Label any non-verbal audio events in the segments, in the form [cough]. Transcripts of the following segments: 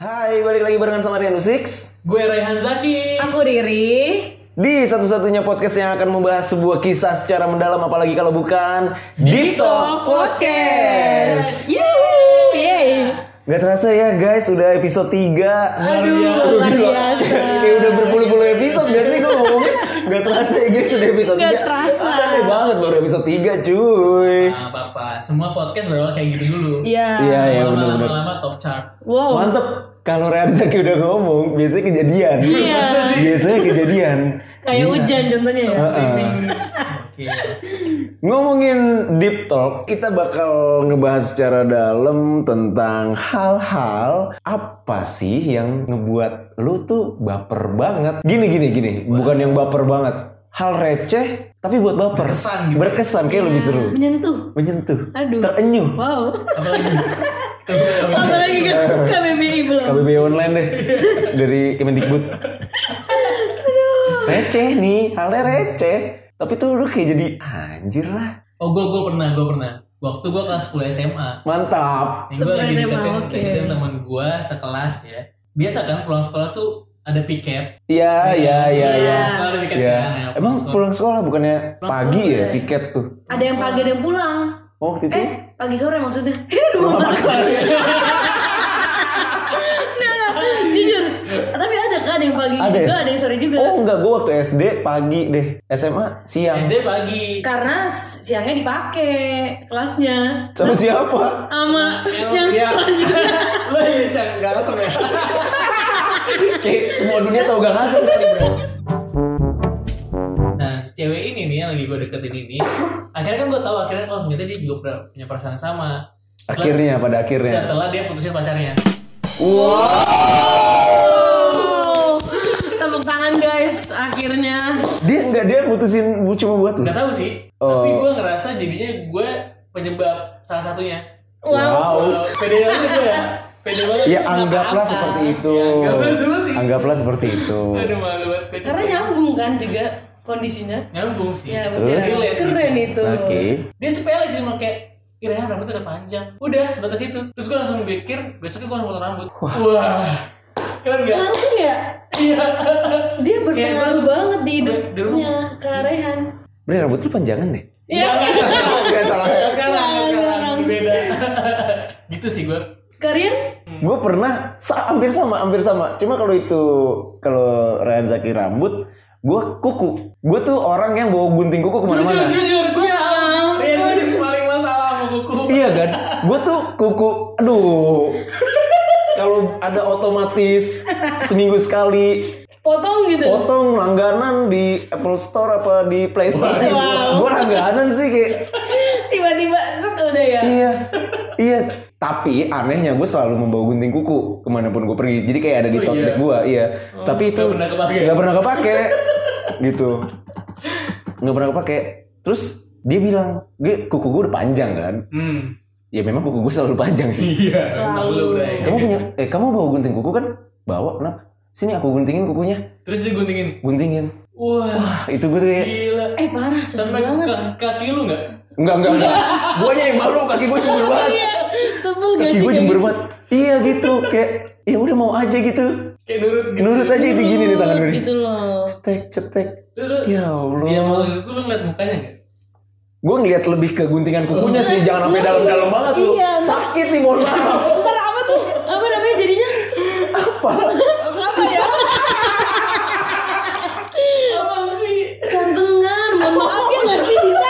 Hai, balik lagi barengan sama Rian Six Gue Rehan Zaki. Aku Riri. di satu-satunya podcast yang akan membahas sebuah kisah secara mendalam apalagi kalau bukan Dito Podcast. Yeay. Yeay. Gak terasa ya guys, udah episode 3. Aduh, luar biasa. Kayak udah berpuluh-puluh episode gak sih gue ngomongnya? Gak terasa ya guys, udah episode Nggak 3. terasa. Aneh banget baru episode 3 cuy. Nah, Bapak, semua podcast berawal kayak gitu dulu. Iya. Iya, iya Lama-lama- bener-bener. Lama-lama top chart. Wow. Mantep. Kalau Rian Zaki udah ngomong, biasanya kejadian. Iya. biasanya kejadian. Ah. Kayak hujan contohnya ya. Heeh. Oke. Ngomongin deep talk, kita bakal ngebahas secara dalam tentang hal-hal apa sih yang ngebuat lu tuh baper banget. Gini gini gini, bukan yang baper banget. Hal receh tapi buat baper. Berkesan gitu. Berkesan kayak lebih seru. Menyentuh. Menyentuh. Iya. Aduh. Terenyuh. Wow. Apalagi. Apalagi kan Uh-uh. KBBI belum. KBBI online deh dari Kemendikbud. receh nih, halnya receh. Tapi tuh lu kayak jadi anjir lah. Oh, gue gue pernah, gue pernah. Waktu gue kelas 10 SMA. Mantap. Gue Setelah lagi SMA, deketin, oke. deketin teman gue sekelas ya. Biasa kan pulang sekolah tuh ada piket. Iya, iya, iya, iya. Iya. Sekolah ada piket Ya. kan. ya, Emang sekolah. pulang sekolah bukannya Pulang pagi sekolah, ya ya. piket tuh. Ada yang pagi ada yang pulang. Oh, waktu itu. Eh, pagi sore maksudnya. [laughs] Eh, rumah [laughs] makan. Nggak, nggak. Jujur. Tapi ada kan yang pagi Ada ya? juga, ada yang sore juga. Oh, enggak gua waktu SD pagi deh. SMA siang. Iya. SD pagi. Karena siangnya dipakai kelasnya. Sama siapa? Sama yang Iya. selanjutnya. Lo ya cang gak langsung ya. Kayak semua dunia tau gak ngasih kali, Bro. Nah, si cewek ini nih yang lagi gue deketin ini, akhirnya kan gue tahu akhirnya kalau ternyata dia juga pernah punya perasaan sama. Setelah- Akhirnya pada akhirnya. Setelah dia putusin pacarnya. Wah, Oh, tepuk tangan guys, akhirnya. dia enggak dia putusin bu- cuma buat lu. Gak tahu sih, Oh. tapi gue ngerasa jadinya gue penyebab salah satunya. Wow. Wow. Wow, Pede banget gue ya. Pede banget. Ya anggaplah seperti itu. Ya, anggaplah seperti itu. Anggaplah seperti itu. Aduh malu banget. Gua Karena cuma- nyambung kan juga kondisinya. nyambung sih. Ya bener. Terus? Keren itu. Oke. Dia sepele sih cuma kayak Irahan rambutnya udah panjang. Udah sebatas itu. Terus gue langsung mikir besoknya gue langsung potong rambut. Wah. Keren gak? Langsung ya, Iya. dia berpengaruh langsung- banget di Di rumah. hidupnya kearehan. Bener rambut lu panjangan deh. Iya. Ya. [laughs] Enggak salah. sekarang, Sekarang, sekarang sekarang. beda. gitu sih gue. Kalian Gue pernah sa- hampir sama, hampir sama. Cuma kalau itu kalau Ryan Zaki rambut, gue kuku. Gue tuh orang yang bawa gunting kuku Jujur, kemana-mana. jujur, gue tahu. Oh, iya, Rehan paling masalah sama kuku. Iya kan? Gue tuh kuku. Aduh. kalau ada otomatis seminggu sekali potong gitu. potong langganan di Apple Store apa di Play Store sih. Wow. Gue langganan sih kayak Tiba-tiba set udah ya. iya iya tapi anehnya gue selalu membawa gunting kuku kemanapun gue pergi jadi kayak ada di Oh, tote iya. bag gue iya Oh, tapi itu nggak pernah kepake. nggak pernah kepake gitu nggak pernah kepake terus dia bilang dia kuku gue udah panjang kan Hmm. ya memang kuku gue selalu panjang sih Iya. Selalu. Selalu. kamu punya eh kamu bawa gunting kuku kan bawa kenapa sini aku guntingin kukunya Terus diguntingin. guntingin Wah, Ah, itu gue tuh kayak gila. Eh parah susah Sampai banget. ke kaki lu nggak? enggak enggak enggak guanya yang malu kaki gue cemburu banget Iya, sebel gak kaki gue sih? iya, guys? cemburu banget iya gitu kayak ya udah mau aja gitu Kayak nurut gitu. Nurut aja kayak begini nih tangan gue nih. Gitu loh. Cetek, cetek. Terus lu- Ya dia Allah. mau kuku lu ngeliat mukanya nggak? Gue ngeliat lebih ke guntingan kukunya sih, jangan sampai dalam-dalam banget lu. Iya. Sakit nih, mohon maaf. Ntar apa tuh? Apa namanya jadinya? Apa? apa ya? Abang sih cantengan, mohon maaf ya nggak sih bisa?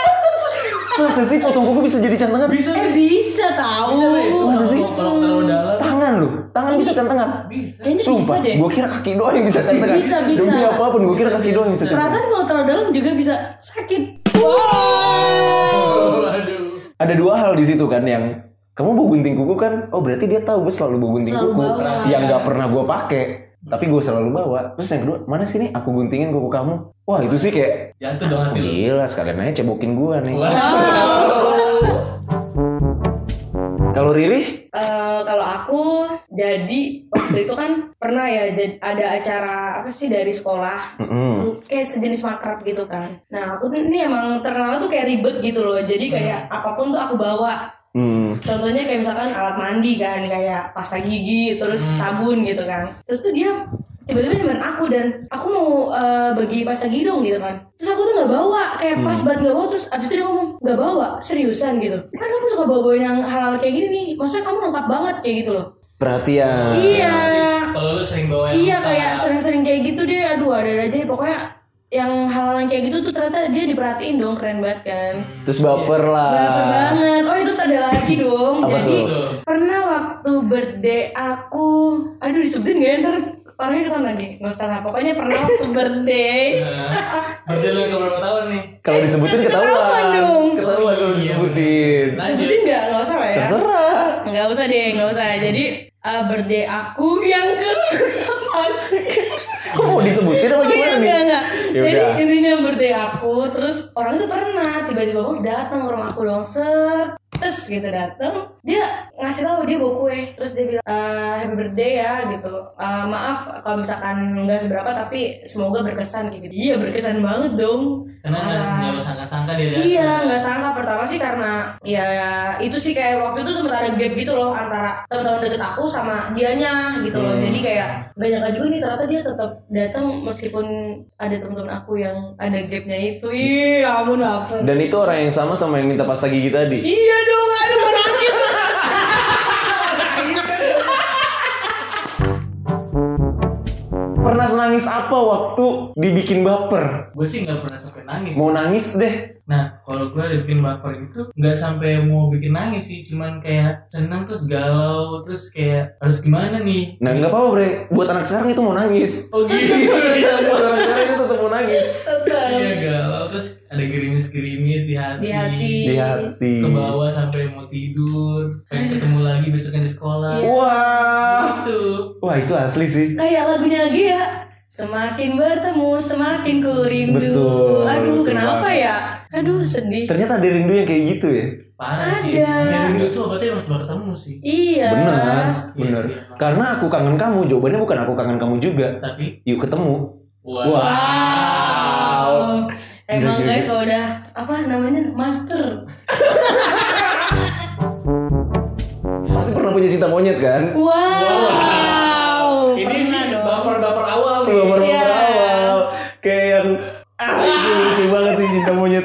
Masa sih potong kuku bisa jadi cantengan? Bisa. Eh bisa tahu. Bisa, Rey. Sumpah, Masa sih? Kalau terlalu dalam Tangan lu, tangan bisa cantengan. bisa. Kayaknya bisa Sumpah, deh. gue kira kaki doang yang bisa cantengan. Bisa, bisa. Demi apapun, gue kira kaki doang yang bisa cantengan. Perasaan kalau terlalu dalam juga bisa sakit. Wow. Oh, aduh. Ada dua hal di situ kan yang kamu bawa gunting kuku kan? Oh berarti dia tahu gue selalu bawa gunting Selalu kuku bawa. Iya. Hmm. yang nggak pernah gue pakai, tapi gue selalu bawa. Terus yang kedua, mana sih nih aku guntingin kuku kamu? Wah itu sih kayak Jatuh dong hati lu. Gila sekalian aja cebokin gua nih. Wah. Ah. Kalau Riri? Eh, kalau aku jadi waktu itu kan pernah ya jad- ada acara apa sih dari sekolah Mm-mm. kayak sejenis makrab gitu kan. Nah aku tuh ini emang terkenal tuh kayak ribet gitu loh. Jadi kayak apapun tuh aku bawa. Hmm. Contohnya kayak misalkan alat mandi kan, kayak pasta gigi, terus sabun gitu kan. Terus tuh dia tiba-tiba nyamperin aku dan aku mau eh, bagi pasta gigi dong gitu kan. Terus aku tuh nggak bawa, kayak pas banget nggak bawa. Terus abis itu dia ngomong nggak bawa, seriusan gitu. Kan aku suka bawa-bawain yang halal kayak gini nih. Maksudnya kamu lengkap banget kayak gitu loh. Perhatian. Iya. Kalau lu sering bawa yang Iya mentah. kayak sering-sering kayak gitu deh. Aduh ada aja deh. pokoknya yang halal yang kayak gitu tuh ternyata dia diperhatiin dong keren banget kan. Terus baper lah. Baper banget. Oh, itu ada lagi dong. Apa Jadi Ah. tuh? pernah waktu birthday aku, aduh disebutin gak ya? ntar orangnya ketahuan lagi. Gak usah lah. Pokoknya pernah waktu birthday. Nah, Berarti lu yang keberapa tahun nih? Kalau disebutin ketahuan. Eh, ketahuan dong. Iya, Ketahuan kalau disebutin. [laughs] Lanjut. Sebutin gak? Gak usah lah ya. Terserah. Gak usah deh, gak usah. Jadi eh, birthday aku yang ke [laughs] Kok mau disebutin apa gimana Iya, nih? enggak, enggak. Ya Jadi udah. intinya birthday aku, terus orang itu pernah tiba-tiba oh datang ke rumah aku dong, set tes gitu datang dia ngasih tahu dia bawa kue terus dia bilang "Eh, happy birthday ya gitu "Eh, maaf kalau misalkan nggak seberapa tapi semoga berkesan gitu iya berkesan banget dong Karena nggak Ah. nggak sangka-sangka dia datang. Iya, nggak sangka pertama sih karena ya itu sih kayak waktu itu sempat ada gap gitu loh antara teman-teman deket aku sama dianya gitu loh. Jadi kayak gak nyangka juga nih ternyata dia tetap datang meskipun ada teman-teman aku yang ada gapnya itu. Iya, ampun apa? Dan itu orang yang sama sama yang minta pasta gigi tadi. Iya dong, aduh mau nangis. Pernah nangis apa waktu dibikin baper? Gue sih nggak pernah sampai nangis. Mau nangis deh. Nah, kalau gue bikin baper gitu, nggak sampai mau bikin nangis sih, cuman kayak seneng terus galau, terus kayak harus gimana nih? Nah nggak apa-apa bre, buat anak sekarang itu mau nangis. Oh gitu. [laughs] buat anak sekarang itu tetap mau nangis. Iya galau, terus ada gerimis-gerimis di hati. Di hati. Di hati. Ke bawah sampai mau tidur, pengen ketemu lagi besoknya di sekolah. Iya. Wah, Gitu. wah itu asli sih. Kayak lagunya Gia. Semakin bertemu, semakin ku rindu. Betul, Aduh, betul kenapa ya? Aduh, sedih. Ternyata ada rindu yang kayak gitu ya. Parah sih. Ada. Dan itu tuh obatnya emang cuma ketemu sih. Iya. Benar, Iya benar. sih, emang. kan? Karena aku kangen kamu, jawabannya bukan aku kangen kamu juga. Tapi, Yuk ketemu. wah. Wah. Wow. Emang Gila, gila, guys kalau udah apa namanya master. Pasti pernah punya cinta monyet kan? Wow. Ini sih Pernah dong. baper-baper awal nih. Baru Iya. awal kayak yang ah itu lucu banget sih cinta monyet.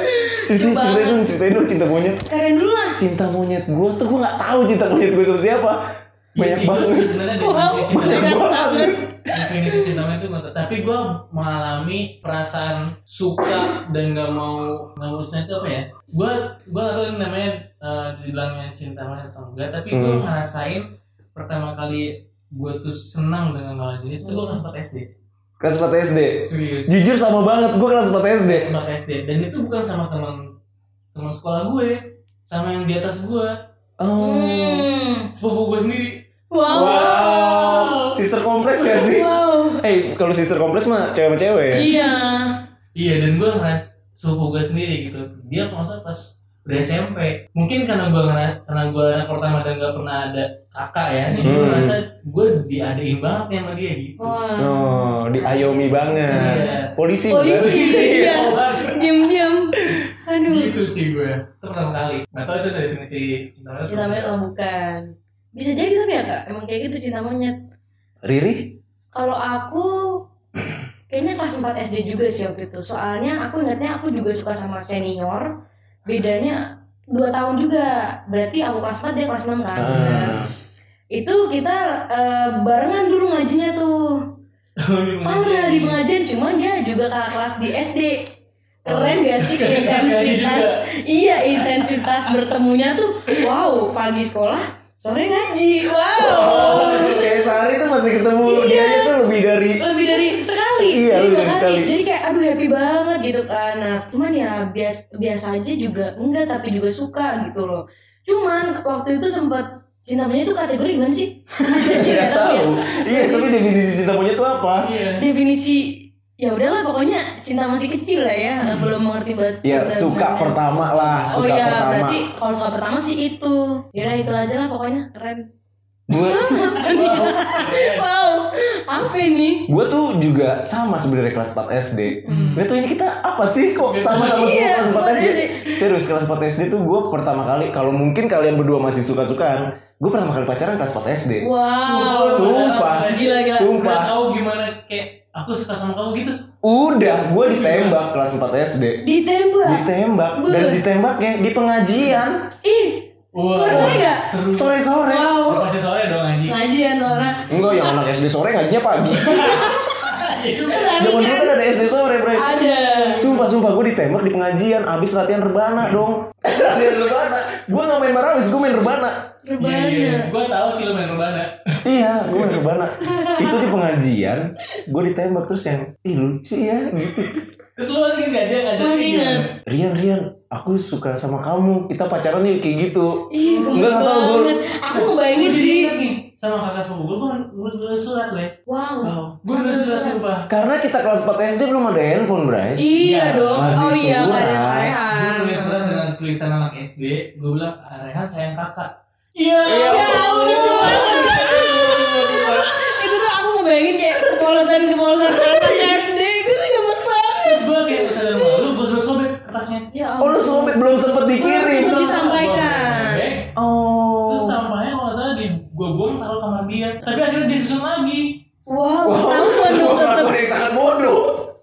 Ceritain, ceritain dong, ceritain dong cinta monyet. Keren dulu lah. Cinta monyet gue tuh gue nggak tahu cinta monyet gue sama siapa. Iya Banyak sih, banget. itu sebenarnya Wow, definisi cinta banyak monyet. banget. Definisi cinta monyet itu nggak tahu. tapi gue mengalami perasaan suka dan nggak mau nggak mau cinta itu apa ya? Gue gue nggak tahu ini namanya eh, dibilangnya cinta monyet atau enggak, tapi gue Hmm. ngerasain pertama kali gue tuh senang dengan lawan jenis itu gue kelas 4 SD. Kelas 4 SD. Serius. Jujur sama banget gue kelas 4 SD. Kelas 4 SD dan itu bukan sama teman teman sekolah gue, sama yang di atas gue, Oh. Hmm. sepupu gue sendiri. Wow. Wow. Sister kompleks gak sih? Wow. Eh kalau sister kompleks mah cewek sama cewek ya. Iya. Iya dan gue ngeras sepupu gue sendiri gitu dia kalau nggak salah pas udah SMP mungkin karena gue ngeras karena gue anak pertama dan gak pernah ada kakak ya jadi gue Hmm. ngerasa gue diadain banget yang sama dia gitu Wah. Oh, diayomi Iya. banget. Polisi, bukan? Polisi [laughs] Iya. iya. Diam-diam. Aduh. gitu sih gue itu pertama kali nggak tahu itu definisi cinta monyet Cinta [laughs] monyet oh bukan. Bisa jadi tapi ya kak. Emang kayak gitu cinta monyet. Riri? Kalau aku kayaknya kelas 4 SD juga sih waktu itu. Soalnya aku ingatnya aku juga suka sama senior. Bedanya 2 tahun juga. Berarti aku kelas 4 dia kelas 6 kan. Benar. Ah. Itu kita eh, barengan dulu ngajinya tuh. Parah di pengajian cuman dia juga kakak kelas di SD. Keren gak sih Keren intensitas? juga. iya, intensitas bertemunya tuh wow, pagi sekolah, sore ngaji. Wow. Oh, kayak sehari tuh masih ketemu dia aja tuh lebih dari lebih dari sekali Iya, Jadi lebih dua dari kali. sekali. jadi kayak aduh happy banget gitu kan nah cuman ya bias biasa aja juga enggak tapi juga suka gitu loh cuman waktu itu sempet cinta monyet itu kategori gimana [laughs] sih ya? tidak Iya, tahu. Iya, tapi definisi cinta monyet itu apa? [laughs] iya definisi ya udahlah pokoknya cinta masih kecil lah ya belum mengerti banget Ya Hmm. cinta suka sebenarnya. pertama lah, oh suka ya pertama. berarti kalau suka pertama sih itu yaudah itu aja lah pokoknya keren Gue wow apa apa ini? Gue tuh juga sama sebenarnya kelas 4 SD. Gue tuh ini kita apa sih kok sama-sama semua kelas 4 Hmm. Iya, SD? bener sih. Serius kelas 4 SD tuh gue pertama kali kalau mungkin kalian berdua masih suka-sukaan, gue pertama kali pacaran kelas 4 SD. Wow. Sumpah. Gila, gila. Sumpah. Udah tahu gimana kayak aku suka sama kamu gitu. Udah, Iya. gue ditembak kelas 4 SD. Ditembak. Ditembak dan Beuh. ditembaknya di pengajian Ih. Wah. Sore-sore nggak? Nah. Seru. sore-sore. Lu Masih sore dong anjing. Pengajian orang. Enggak, yang anak SD sore ngajinya [laughs] pagi. Iya. Zaman dulu kan ada SD sore, Bre. Ada. Sumpah, sumpah gue ditembak di pengajian abis latihan rebana [laughs] dong. latihan rebana. Gue nggak main marawis, gue main rebana. Iya iya. Rebana. Gue tahu sih lu main rebana. Iya, gue main rebana. Itu di pengajian, gue ditembak terus yang, ih lucu ya gitu. Terus, Terus lu masih nggak dia ngajak Masih gimana? ingat. Rian, Rian, aku suka sama kamu. Kita pacaran yuk kayak gitu. Ih, gemes Enggak, nggak tahu, gua- banget. Aku ngebayangin Gua jadi sih. ingat nih sama kakak sepupu gue gue nulis surat le. Wow. Gue nulis surat sumpah. Karena kita kelas 4 SD belum ada handphone, Bray. Iya dong. masih Oh iya, seumuran. kadang Gue karehan. nulis surat dengan tulisan anak SD. Gue bilang "Ah, Rehan sayang kakak. Iya. Ya ampun, lucu banget. Itu tuh aku ngebayangin kayak kepolosan-kepolosan anak SD. Gue tuh gemes banget. Terus gue kayak sadar malu. Gue sobek sobek kertasnya. Ya Oh, lu sobek belum sempet dikirim. Belum disampaikan. Gua sobek. Oh. Terus sampahnya kalau nggak salah di gue buang taruh kamar dia. Tapi akhirnya disusun lagi. Wow, ketahuan dong Sebuah tetep. kelakuan yang sangat bodoh.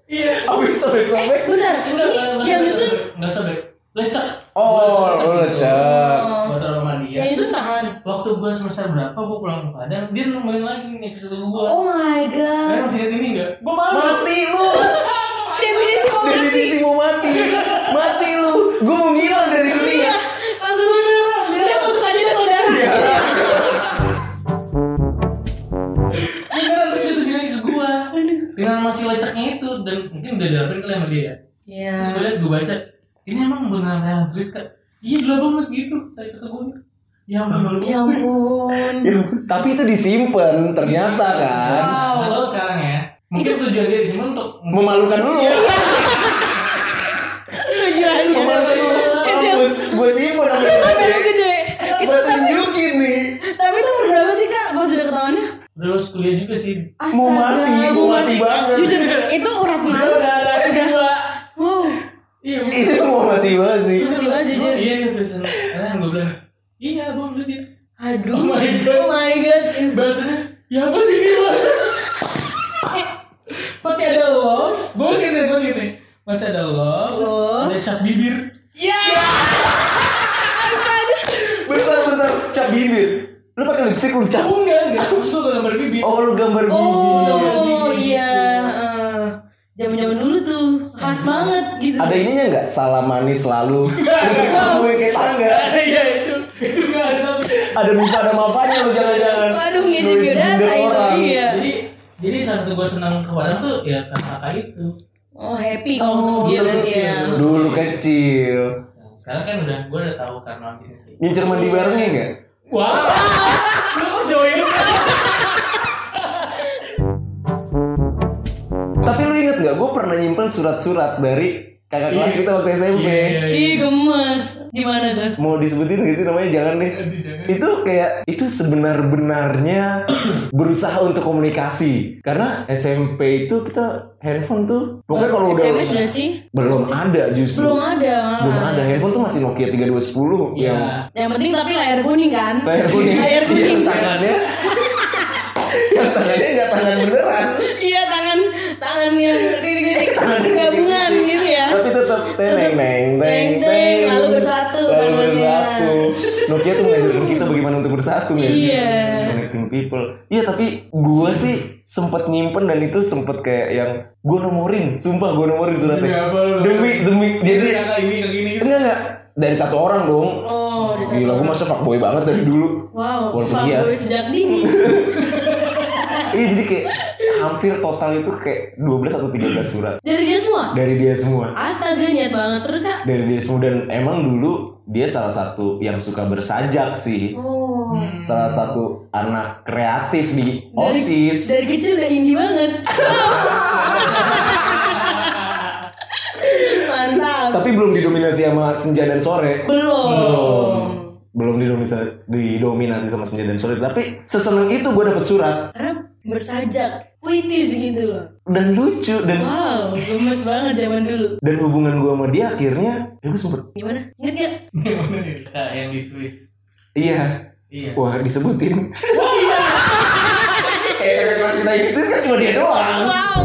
Iya. Abis sobek-sobek. Bentar, ini Enggak, enggak, enggak, yang enggak nyusun, sobek. Enggak sobek. Lecek. Oh, Gua lu taruh- lecek. Gua taruh kamar dia. yang nyusun tahan. Waktu gue semester berapa gue pulang ke Padang, dia nemuin lagi nih episode gue. Oh my god. Kalian masih ingat ini nggak? Gue malu. Mati lu. Definisi mau Definisi mau mati. Mati lu. Gue mau ngilang dari dunia. langsung bener bang. Udah putus aja deh saudara. Beneran terus dia sendiri ke gue. Dengan masih leceknya itu dan mungkin udah dilakuin kali sama dia. ya. Iya. Terus gue liat gue baca, ini emang beneran yang tulis kan? Iya dulu abang masih gitu. Tadi kata gue, ya ampun malu. Ya ampun. Ya, tapi itu disimpan ternyata kan. Wow. Atau sekarang ya, mungkin tujuan dia disini untuk Memalukan lu. Iya. Tujuannya. Memalukan lu. Itu yang- Gue simpen. Baru gede. Iya. Itu kan Gue tapi tunjukin nih. tapi itu umur berapa sih kak pas udah ketahuannya? terus kuliah juga sih. Astaga, Mau mati, mau mati banget. [laughs] Jujur, itu urat malu. Udah, udah, Wow, Iya. Itu mau mati banget sih. Terus Tiba-tiba gua- jujur. Iya nih tulisan. Karena gue bilang, iya abang lucu. aduh. Oh my God. Oh my god. Bahasanya, ya apa sih ini bahasa? Pakai ada love, gue sini, gue sini. Masih ada love, terus Love. ada cap bibir. Iya. Ya. Astaga. Bentar, bentar. Cap bibir. Lu pakai lipstick lu cap. Oh enggak, enggak. Terus gue gambar bibir. Oh, lu gambar bibir. Oh iya. eh, Zaman-zaman dulu tuh keras banget gitu. Ada ininya nggak? Salam manis selalu. Gue kayak tangga. [laughs] Iya itu, itu enggak ada. Ada mifa ada mafanya lu jangan-jangan. Waduh, ngisi Nulis biodata bunda itu, orang. iya. Jadi, jadi salah satu gue senang ke Padang tuh ya karena kakak itu. Oh happy kamu gitu dulu ya. kecil. Dulu kecil. Nah, Sekarang kan udah gue udah tahu karena gini sih. Ngincer mandi barengnya nggak? Wah, lu kok jauh ya? itu? Tapi lu inget nggak? Gue pernah nyimpen surat-surat dari kakak Iya. kelas kita waktu SMP. Iya, Ih gemes. Gimana tuh? Mau disebutin nggak sih namanya? Jangan deh. Itu kayak itu sebenar-benarnya berusaha untuk komunikasi karena SMP itu kita handphone tuh pokoknya kalau udah SMS gak sih? belum ada justru ya? Belum ada belum malah. ada handphone tuh masih Nokia 3210 Iya. yang Yang penting tapi layar kuning kan? layar kuning Layar Iya, kuning. [laughs] tangannya yang tangannya nggak tangan beneran Iya tangan tangan yang titik-titik [laughs] Tangan titik-titik. gabungan gitu ya. tapi tetap teneng neng Teng, teng teng. teng Lalu bersatu lalu tangannya. bersatu Nokia tuh ngajarin kita bagaimana untuk bersatu ya Iya. connecting people iya tapi gua sih sempet nyimpen dan itu sempet kayak yang gua nomorin sumpah gua nomorin Demi suratnya apa lu? demi demi Jadi jadi kakak ini kayak gini. [laughs] enggak enggak dari satu orang dong Oh, udah gila gua masa fuckboy banget dari dulu Wow, Walaupun fuckboy iya. sejak dini. Iya jadi kayak hampir total itu kayak 12 atau 13 surat Dari dia semua. dari dia semua. Astaga niat banget terus kak. Dari dia semua dan emang dulu dia salah satu yang suka bersajak sih. Oh. Salah satu anak kreatif di Dari- OSIS. Dari kecil udah indie banget. [laughs] Mantap. Tapi belum didominasi sama Senja dan Sore. Belum. Belum didominasi, didominasi sama Senja dan Sore. Tapi seseneng itu gue dapet surat. Karena bersajak. puitis gitu loh dan lucu dan wow gemes banget zaman dulu dan hubungan gue sama dia akhirnya ya gue sempet gimana inget gak Nah, yang di Swiss iya iya wah disebutin [laughs] eh masih lagi itu kan cuma dia doang wow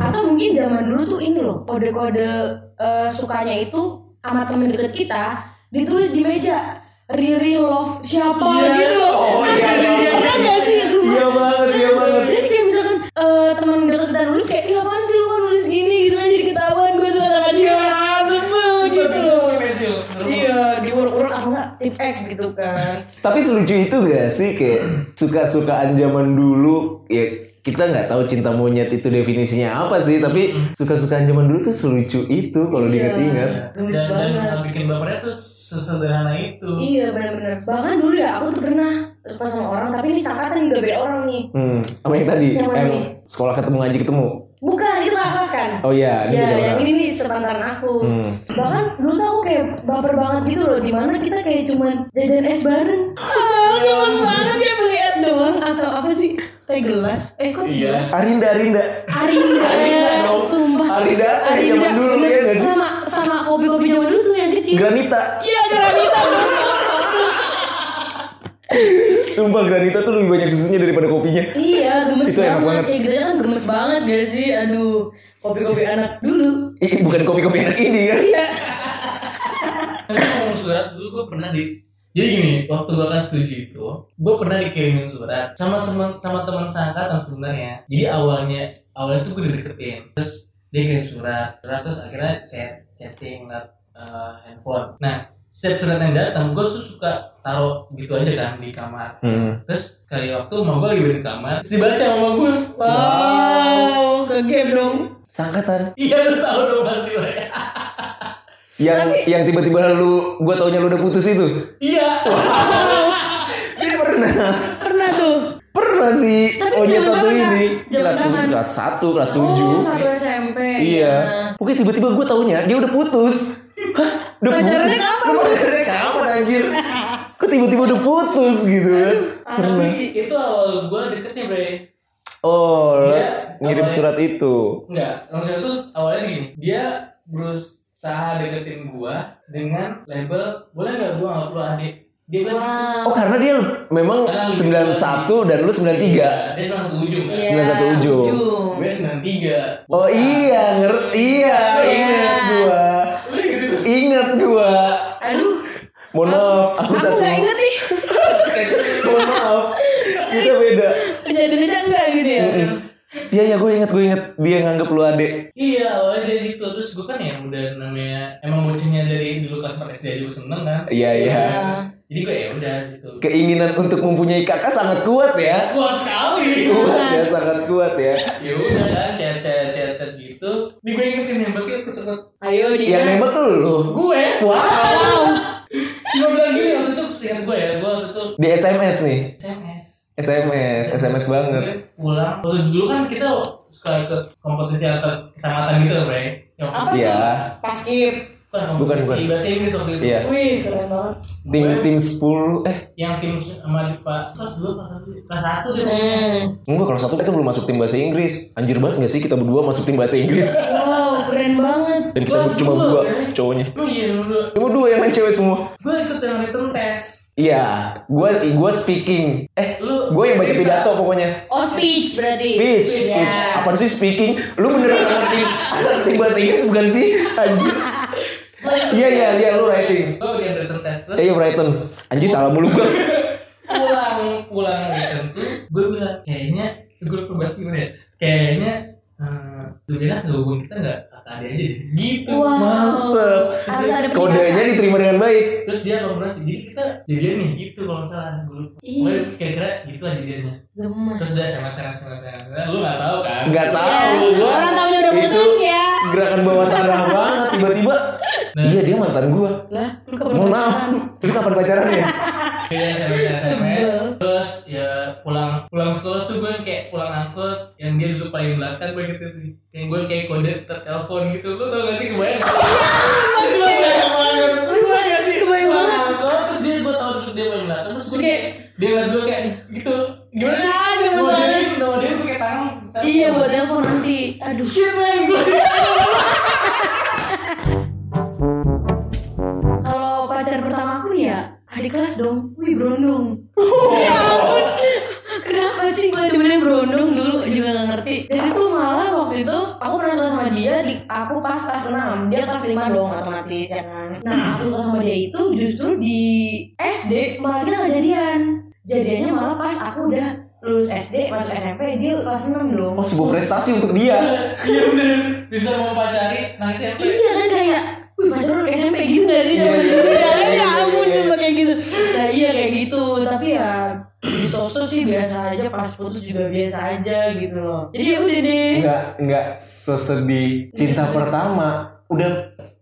atau mungkin zaman dulu tuh ini loh kode-kode eh, sukanya itu sama temen deket kita ditulis di meja Riri love siapa Iya. gitu loh Oh, iya, Asli, iya. pernah nggak sih sumpah? iya banget iya banget Jadi kayak misalkan eh, teman deket kita nulis kayak, ya apaan sih lu kan nulis gini gitu kan jadi ketahuan gue suka sama dia. Iya, Sebel gitu loh. pensil Iya, dia urut-urut atau enggak tip X gitu kan. Tapi selucu itu gak sih kayak suka-sukaan zaman dulu ya kita nggak tahu cinta monyet itu definisinya apa sih tapi suka-sukaan zaman dulu tuh selucu itu Iya. kalau diingat-ingat. dan, Gemes dan banget. yang bikin bapernya tuh sesederhana itu Iya benar-benar. Bahkan dulu ya aku tuh pernah suka sama orang tapi ini sangkatan udah beda orang nih. Hmm, apa yang tadi? Yang mana Yang nih? sekolah ketemu ngaji ketemu. Bukan itu kakak kelas kan? Oh iya, ini Ya, beda yang orang. ini nih sepantaran aku. Hmm. Bahkan dulu tuh aku kayak baper banget gitu loh, dimana kita kayak cuman jajan es bareng. Ah, gemes banget ya beli es doang atau apa sih? Kayak gelas. Eh, kok Iya. gelas? Iya, Arinda, Arinda. [laughs] Arinda, dong. sumpah. Arinda, eh, zaman dulu, bener. iya nggak sih? sama sama kopi-kopi zaman dulu tuh yang kecil. Granita. Iya, granita. Sumpah Granita tuh lebih banyak susunya daripada kopinya. iya, gemes Itu enak banget. banget. Kayak gitu kan gemes banget gak sih? Aduh, kopi-kopi anak dulu. Ih, bukan kopi-kopi anak ini kan. Iya. tapi Kan ngomong surat dulu gue pernah di jadi gini waktu gue kelas tujuh itu gue pernah dikirimin surat sama teman sama teman seangkatan sebenarnya jadi awalnya awalnya tuh gue dideketin terus dia kirim surat surat terus akhirnya chat chatting lewat eh, handphone nah setiap surat yang datang gue tuh suka taruh gitu aja kan di kamar Hmm. terus sekali waktu mama gue lagi di kamar terus dibaca sama gue Wow, kegep dong. Sangkatan. iya lu tau dong pasti lah Yang Tapi- yang tiba-tiba lu gua taunya lu udah putus itu. iya Ini Iya, pernah. Pernah tuh. Pernah sih. Tapi oh iya zaman satu kapan, ini. Kak? Zaman Kelas kapan? kelas satu, kelas Oh, tujuh. satu SMP. iya. Pokoknya tiba-tiba gue taunya dia udah putus. Hah? Udah Pacarannya kapan? Lu Pacarannya kapan anjir? Kok tiba-tiba udah putus gitu kan? Parah sih. itu awal gue deketnya bre Oh, lo Iya, ngirim awalnya. surat itu. Enggak, maksudnya tuh awalnya gini Dia berusaha deketin gua dengan label Boleh nggak gua nggak perlu adik Dia bilang Oh, karena dia memang Karena lu 91 dan lu 93. Dia sama satu ujung kan Iya, Sembilan satu ujung. Gue 93 Oh iya, ngerti iya, ingat gua. Udah gitu Ingat gua. Aduh, Mohon maaf, aku, aku satu. nggak inget nih. [laughs] Mohon maaf. Kita beda. Kejadian aja enggak gitu ya. Iya, iya gue ingat, gue ingat dia nganggep lu adek. Iya awalnya dia gitu Terus gua kan yang udah namanya Emang bocahnya dari dulu kelas 4 SD aja gua seneng kan Iya iya. Jadi gue ya udah gitu Keinginan untuk mempunyai kakak sangat kuat ya. Kuat sekali Kuat ya, sangat kuat ya. Ya udah kan, chat chat chat chat gitu Di gue ingetin yang bagi aku cepet Ayo Iya. Yang dia. nembak tuh lu. Gue Wow. Cuma bilang gini waktu itu seingat gue ya Gue waktu itu Di SMS nih. SMS SMS, SMS banget. Gue pulang waktu dulu kan kita suka ikut kompetisi antar kecamatan gitu Bre yang Apa Iya. tuh? Paskib. bukan Bukan, kompetisi bukan. bahasa Inggris waktu itu Iya. Wih, keren banget. Tim tim 10 eh yang tim sama di- Pak kelas dua kelas satu kelas satu dia Eh. Mm. enggak kalau satu itu belum masuk tim bahasa Inggris. Anjir banget gak sih kita berdua masuk tim bahasa Inggris? Wow, keren banget. Dan kita Kelas cuma dua, dua kan? cowoknya. oh iya dulu Cuma dua yang main cewek semua. gue ikut yang written test Iya, gua gua speaking. Eh, Lu- gua yang baca pidato pokoknya. Oh, speech berarti. Speech, speech. Yes. Apa sih speaking? Lu beneran ngerti ngerti bahasa Inggris bukan sih? Anjir. Iya iya iya lu writing. gue udah written test terus Eh iya Brighton. Anjir salah mulu gua. pulang pulang weekend tuh gue bilang kayaknya gue lupa bahas gimana ya kayaknya eh, lebih enak gak hubungin kita nggak kakak adik aja deh. gitu Wow. Mantep. Harus ada Kodenya diterima dengan baik. terus dia konfirmasi jadi kita jadian nih gitu kalau nggak salah gue lupa Iya. gue kira-kira gitu lah jadiannya terus Gemes. dia sama sama sama sama sama lu nggak tahu kan Enggak Ya, tahu gua. orang tahunya udah Itu putus ya. Gerakan bawah [laughs] tanah banget tiba-tiba. Nah. Iya dia mantan gua. Lah, lu kapan Mohon maaf. Lu kapan pacaran ya? beda sama sama sama Sebel. terus ya pulang pulang sekolah tuh gue kayak pulang angkot yang dia duduk paling belakang gue gitu sih yang gue kayak kode tertelepon gitu lu tau gak sih kebayang Sumpah gak sih? Kebayang Pulang banget. angkot, terus dia gue tau duduk dia paling belakang terus gue Terus kayak- dia ngeliat gue kayak gitu gimana sih Ah, gemes Gua banget. jadian Iya buat telepon nanti. Aduh. [laughs] Kalau pacar pertama aku nih ya adik kelas dong. Wih berondong. ya ampun. Kenapa sih gue dibeli berondong dulu juga gak ngerti. Jadi tuh malah waktu itu aku pernah suka sama dia di aku pas kelas 6 dia kelas 5 dong otomatis ya kan. Nah aku suka sama dia itu justru di SD malah kita gak jadian. Jadiannya malah pas aku udah lulus SD masuk SMP dia kelas 6 dong. Oh, sebuah prestasi untuk dia. Iya bener Bisa mau pacari Nangis SMP Iya kan kayak Wih pacaran udah SMP gitu gak sih zaman dulu ya kan? Ya ampun cuma kayak gitu Nah iya kayak gitu Tapi ya di sosok sih biasa aja Pas putus juga biasa aja gitu loh Jadi ya udah deh nggak nggak sesedih cinta Iya. pertama udah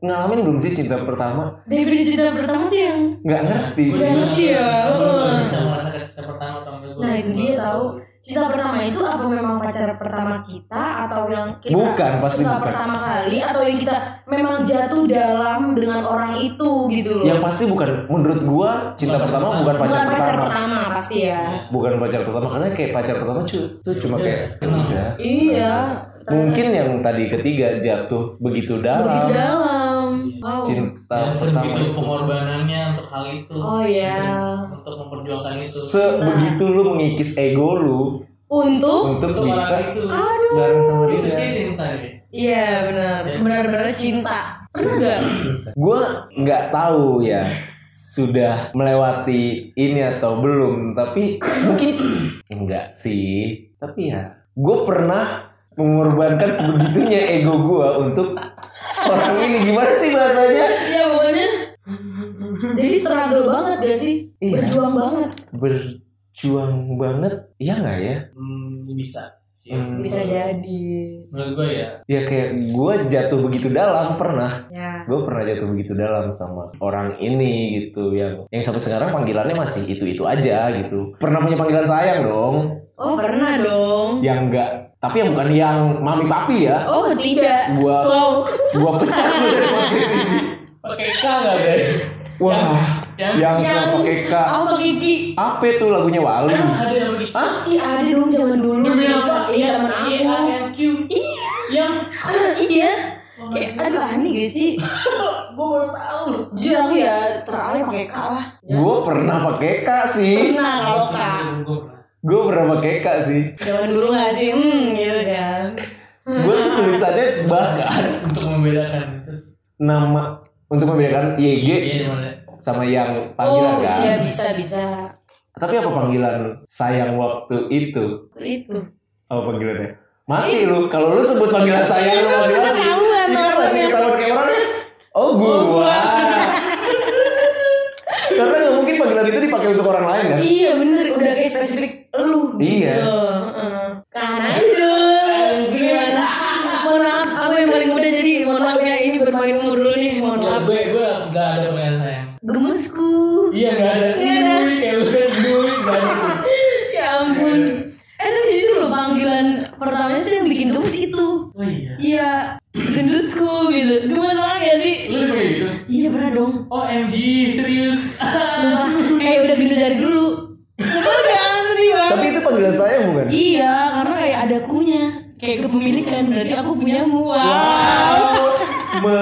ngalamin belum sih cinta pertama Definisi cinta pertama tuh yang nggak ngerti Udah ngerti ya. Gua Bisa merasakan cinta pertama atau enggak gua- Nah itu gua dia nggak tahu sih. Cinta pertama itu apa memang pacar pertama kita atau yang kita Bukan, pasti cinta bukan. pertama kali atau yang kita memang jatuh dalam dengan orang itu gitu loh. yang pasti bukan menurut gua cinta Bukan pertama pertama. bukan pacar Bukan pacar pertama pertama pasti ya. bukan pacar pertama karena kayak pacar pertama cu- tuh cuma Iya. kayak ya udah Iya. mungkin yang tadi ketiga jatuh begitu begitu dalam dalam. Wow. cinta pertama Dan sebegitu itu pengorbanannya untuk hal itu Oh ya. Untuk memperjuangkan itu sebegitu lu mengikis ego lu Untuk untuk Untuk hal bisa itu aduh. bareng sama Itu dia sih cinta ya Iya benar. Sebenar-benar cinta. Pernah enggak? gue nggak tahu ya sudah melewati ini atau belum tapi mungkin enggak sih tapi ya gue pernah mengorbankan sebegitunya ego gue untuk orang ini gimana sih bahasanya Iya pokoknya. Jadi struggle banget gak sih? Iya. Berjuang banget. berjuang banget ya nggak ya Hmm, Bisa sih. Hmm. Bisa jadi. Menurut gue ya ya kayak gue jatuh begitu dalam pernah Ya. gue pernah jatuh begitu dalam sama orang ini gitu yang yang sampai sekarang panggilannya masih itu itu aja gitu pernah punya panggilan sayang dong Oh pernah dong. yang enggak tapi yang bukan yang mami papi ya Oh tidak. gua Wow. gua pecah lu dari podcast ini. Pakai K nggak deh wah Yang- yang yang yang pakai K Aku pakai gigi. apa itu lagunya Wali Ada yang begitu Iya ada dong zaman dulu. Iya, Iya teman aku. IANQ. Yang [laughs] Iya. Kayak aduh aneh gak sih? gue baru tahu loh. Jujur aku ya teralih pakai kalah. gua pernah pakai K sih Pernah kalau kak. Gue gua pernah pakai K sih Zaman dulu gak sih? Hmm, gitu kan. gua tuh tulisannya bahkan untuk membedakan terus nama untuk membedakan YG iya mana sama yang panggilan oh, kan iya bisa bisa. tapi apa panggilan sayang waktu itu Itu itu. apa panggilannya mati lu kalau lu sebut panggilan sayang lu mati mati ketahuan Ini kan masih ketahuan kayak orang Oh gua. Karena nggak mungkin panggilan itu dipakai untuk orang lain kan? Iya bener udah kayak spesifik lu. gitu. Iya. Karena itu. Gimana? Mohon maaf, aku yang paling muda jadi mohon maaf ya ini bermain umur dulu nih, mohon maaf. gue gue gak ada pengen sayang Gemesku. iya gak ada Iya, ada. Ui, kayak bukan gue kan. gak ada Ya ampun. Eh tapi jujur loh panggilan pertamanya tuh yang bikin gemes itu. oh iya Iya, gendutku gitu. Gemes banget gak sih? lu udah kayak gitu Iya pernah [laughs] dong. OMG Oh, serius Sumpah, kayak udah gendut dari dulu. Udah sedih banget. Tapi itu panggilan sayang bukan? Iya, karena kayak ada kunya. Kayak kepemilikan, berarti aku punyamu. Wow. Wow. Me,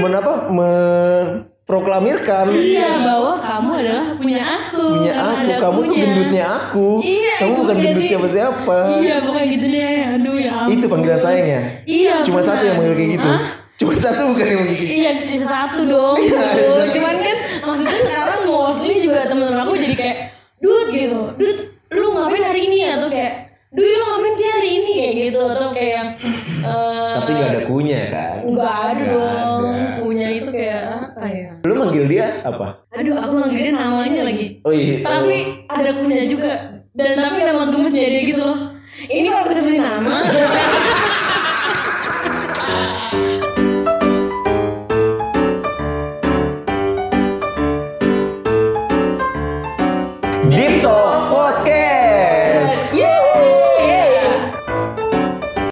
men apa? Memproklamirkan Iya, bahwa kamu adalah punya aku. punya Karena aku. ada Kamu tuh akunya. gendutnya aku. Iya, Kamu itu bukan dia gendut sih. siapa-siapa. Iya, pokoknya gitu deh. Aduh ya ampun. Itu panggilan sayangnya. Iya. Cuma bener. satu yang manggil kayak gitu. Hah? Cuma satu bukan yang manggil kayak gitu. Iya bisa satu dong Duh, Cuman kan maksudnya sekarang mostly juga temen-temen aku jadi kayak Dut gitu Dut lu ngapain hari ini ya Atau kayak Dut lu ngapain sih hari ini kayak gitu Atau kayak yang eh, Tapi nggak ada kunya kan? Nggak ada Nggak dong ada. Punya itu kayak apa ya Lu manggil dia apa? Aduh aku manggilnya namanya lagi Oh iya. Tapi ada punya juga Dan tapi nama gemesnya dia gitu loh Ini kalau aku sebutin nama Deep Talk. [laughs]